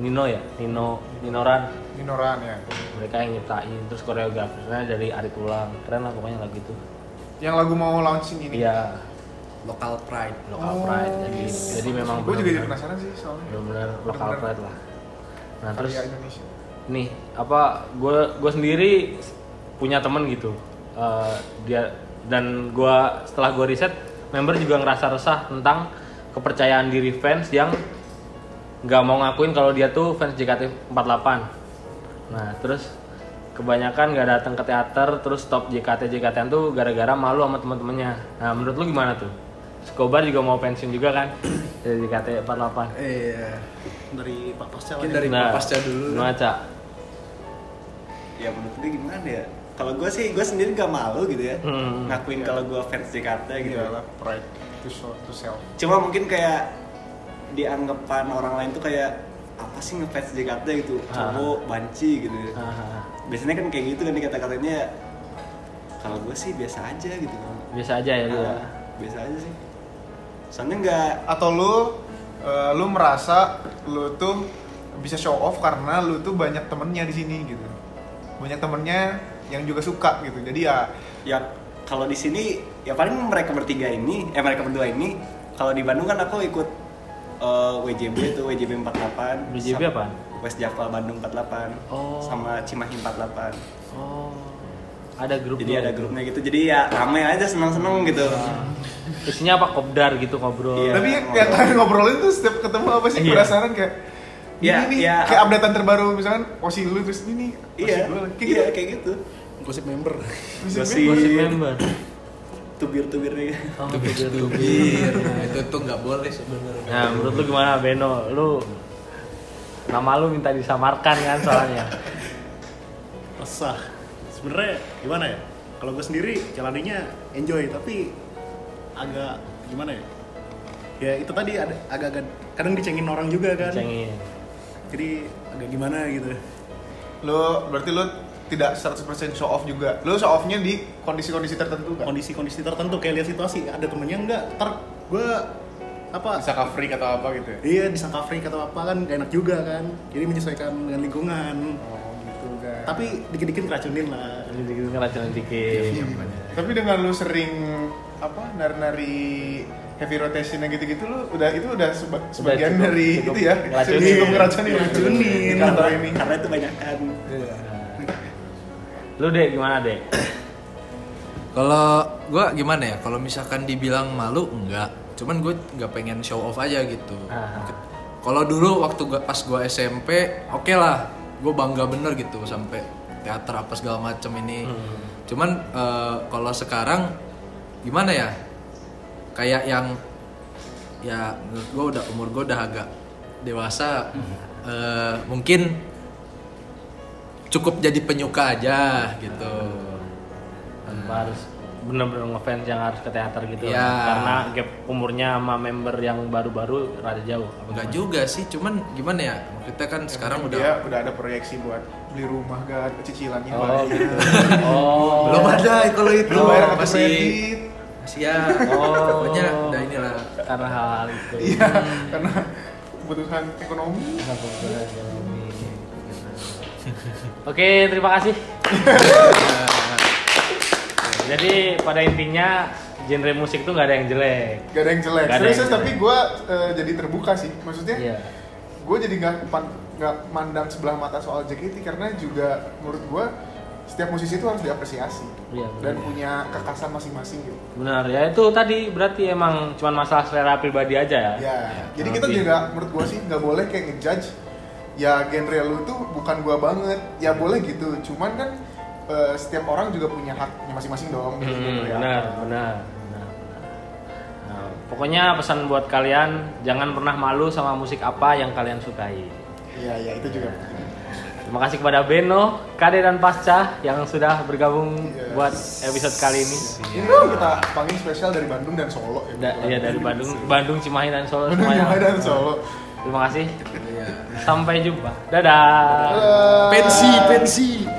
Nino ya, Nino Ninoran.
Minoran ya.
Mereka yang nyiptain terus koreografernya dari Arif Ulang. Keren lah pokoknya lagu itu.
Yang lagu mau launching ini.
Iya,
(laughs) Local pride.
lokal pride. Jadi jadi memang
Gue juga jadi
benar-benar-
penasaran sih soalnya.
benar-benar lokal
Benar-benar.
pride lah. Nah, terus
Karya Indonesia.
nih apa gue gue sendiri punya temen gitu Eh, dia dan gue setelah gue riset member juga ngerasa resah tentang kepercayaan diri fans yang nggak mau ngakuin kalau dia tuh fans JKT48 nah terus kebanyakan nggak datang ke teater terus stop JKT JKT tuh gara-gara malu sama teman-temannya nah menurut lu gimana tuh Skobar juga mau pensiun juga kan dari JKT48
Iya.
dari Pak Pasca
Mungkin dari
Nah,
Pasca dulu.
gimana, Cak?
ya menurut gue gimana ya kalau gue sih gue sendiri gak malu gitu ya
Hmm.
ngakuin kalau gue fans Jakarta gitu
Iya lah, pride to show to self.
cuma mungkin kayak dianggapan orang lain tuh kayak apa sih ngefans Jakarta gitu
Ah.
cowok banci gitu
Ah,
biasanya kan kayak gitu kan dikata-katanya kalau gue sih biasa aja gitu kan
biasa aja ya lu ya.
Ah, biasa aja sih soalnya nggak
atau lu eh, lu merasa lu tuh bisa show off karena lu tuh banyak temennya di sini gitu banyak temennya yang juga suka gitu jadi ya
ya kalau di sini ya paling mereka bertiga ini eh mereka berdua ini kalau di Bandung kan aku ikut eh, WJB itu WJB 48
BJB
sama
apaan?
West Java Bandung 48
Oh.
sama Cimahi 48
Oh. Ada grup lu.
jadi ada grupnya gitu jadi ya rame aja seneng-seneng gitu
Ah. Isinya apa? Kopdar gitu ngobrol.
Iya.
tapi
ngobrol.
yang kalian ngobrolin tuh setiap ketemu apa sih
Iya.
penasaran kayak ini
Iya,
nih
iya.
kayak updatean terbaru misalkan osi lu terus ini nih osi
iya
gua lagi. kayak
iya
gitu
kayak gitu
gosip (laughs) member
Bisa
Gosip.
Gosip member.
tubir-tubirnya
Oh,
Tubir,
gitu.
tubir. Nah, itu tuh nggak boleh sebenarnya.
Nah, menurut lu gimana Beno? Lu nama lu minta disamarkan kan soalnya.
resah sebenarnya gimana ya kalau gue sendiri jalaninya enjoy tapi agak gimana ya ya itu tadi ada agak-agak kadang dicengin orang juga kan
Cengin.
jadi agak gimana gitu
lu berarti lu tidak 100% show off juga lu show offnya di kondisi-kondisi tertentu kan
kondisi-kondisi tertentu kayak lihat situasi ada temennya enggak ter gue apa
bisa covery atau apa gitu ya
iya disangka freak atau apa kan gak enak juga kan jadi menyesuaikan dengan lingkungan
oh gitu kan
tapi dikit-dikit keracunin lah
Ini dikit ngeracunin dikit.
Tapi dengan lu sering apa nari-nari heavy rotation yang gitu-gitu lu udah itu udah seba- sebagian
cukup-
dari
cukup
itu ya.
ngeracunin. Iya,
Sudah cukup ngeracunin.
Ngeracunin.
Karena ini.
karena itu banyak kan
Lu deh gimana deh?
Kalau gua gimana ya? Kalau misalkan dibilang malu enggak, cuman gue nggak pengen show off aja gitu.
Ah.
Kalau dulu waktu gua pas gua SMP, oke lah. gue bangga bener gitu sampai teater apa segala macem ini
Hmm.
cuman eh, kalau sekarang gimana ya kayak yang ya menurut gue udah umur gue udah agak dewasa
Hmm.
eh, mungkin cukup jadi penyuka aja gitu
Ah. tanpa harus bener-bener ngefans yang harus ke teater gitu
Iya.
karena gap umurnya sama member yang baru-baru rada jauh apa
enggak
gimana?
juga sih cuman gimana ya kita kan sekarang udah
dia
Iya,
udah ada proyeksi buat beli rumah kan cicilannya
oh
banyak. (laughs)
gitu oh
belum ada kalau itu
Lu bayar kartu
masih
kredit
masih ya
Oh.
pokoknya udah inilah
karena hal itu
iya karena kebutuhan ekonomi
Karena kebetulan yang ini. Oke, terima kasih. Jadi pada intinya genre musik tuh nggak ada yang jelek.
gak ada yang jelek
Gak ada
serius
yang jelek.
tapi gue
eh,
jadi terbuka sih maksudnya
Iya.
gue jadi nggak pan- nggak mandang sebelah mata soal JKT karena juga menurut gue setiap musisi itu harus diapresiasi
Iya,
dan
benar.
punya kekhasan masing-masing gitu.
Benar ya itu tadi berarti emang cuman masalah selera pribadi aja ya.
Ya, jadi kita
Tapi-
juga menurut gue sih nggak boleh kayak ngejudge ya genre lu tuh bukan gua banget. Ya boleh gitu, cuman kan eh, setiap orang juga punya haknya masing-masing dong.
Hmm,
gitu ya.
benar, benar, benar, benar. Nah, pokoknya pesan buat kalian jangan pernah malu sama musik apa yang kalian sukai.
Iya, iya itu juga.
Terima kasih kepada Beno, Kade dan Pasca yang sudah bergabung
Yes.
buat episode kali ini.
Iya. Ini dong kita panggil spesial dari Bandung dan Solo ya.
Da-
kebetulan.
iya dari Bandung, Bandung, Cimahi dan Solo
Bandung
semuanya.
Jawa dan Solo.
Terima kasih.
Iya.
Sampai jumpa. Dadah.
Dadah.
pensi pensi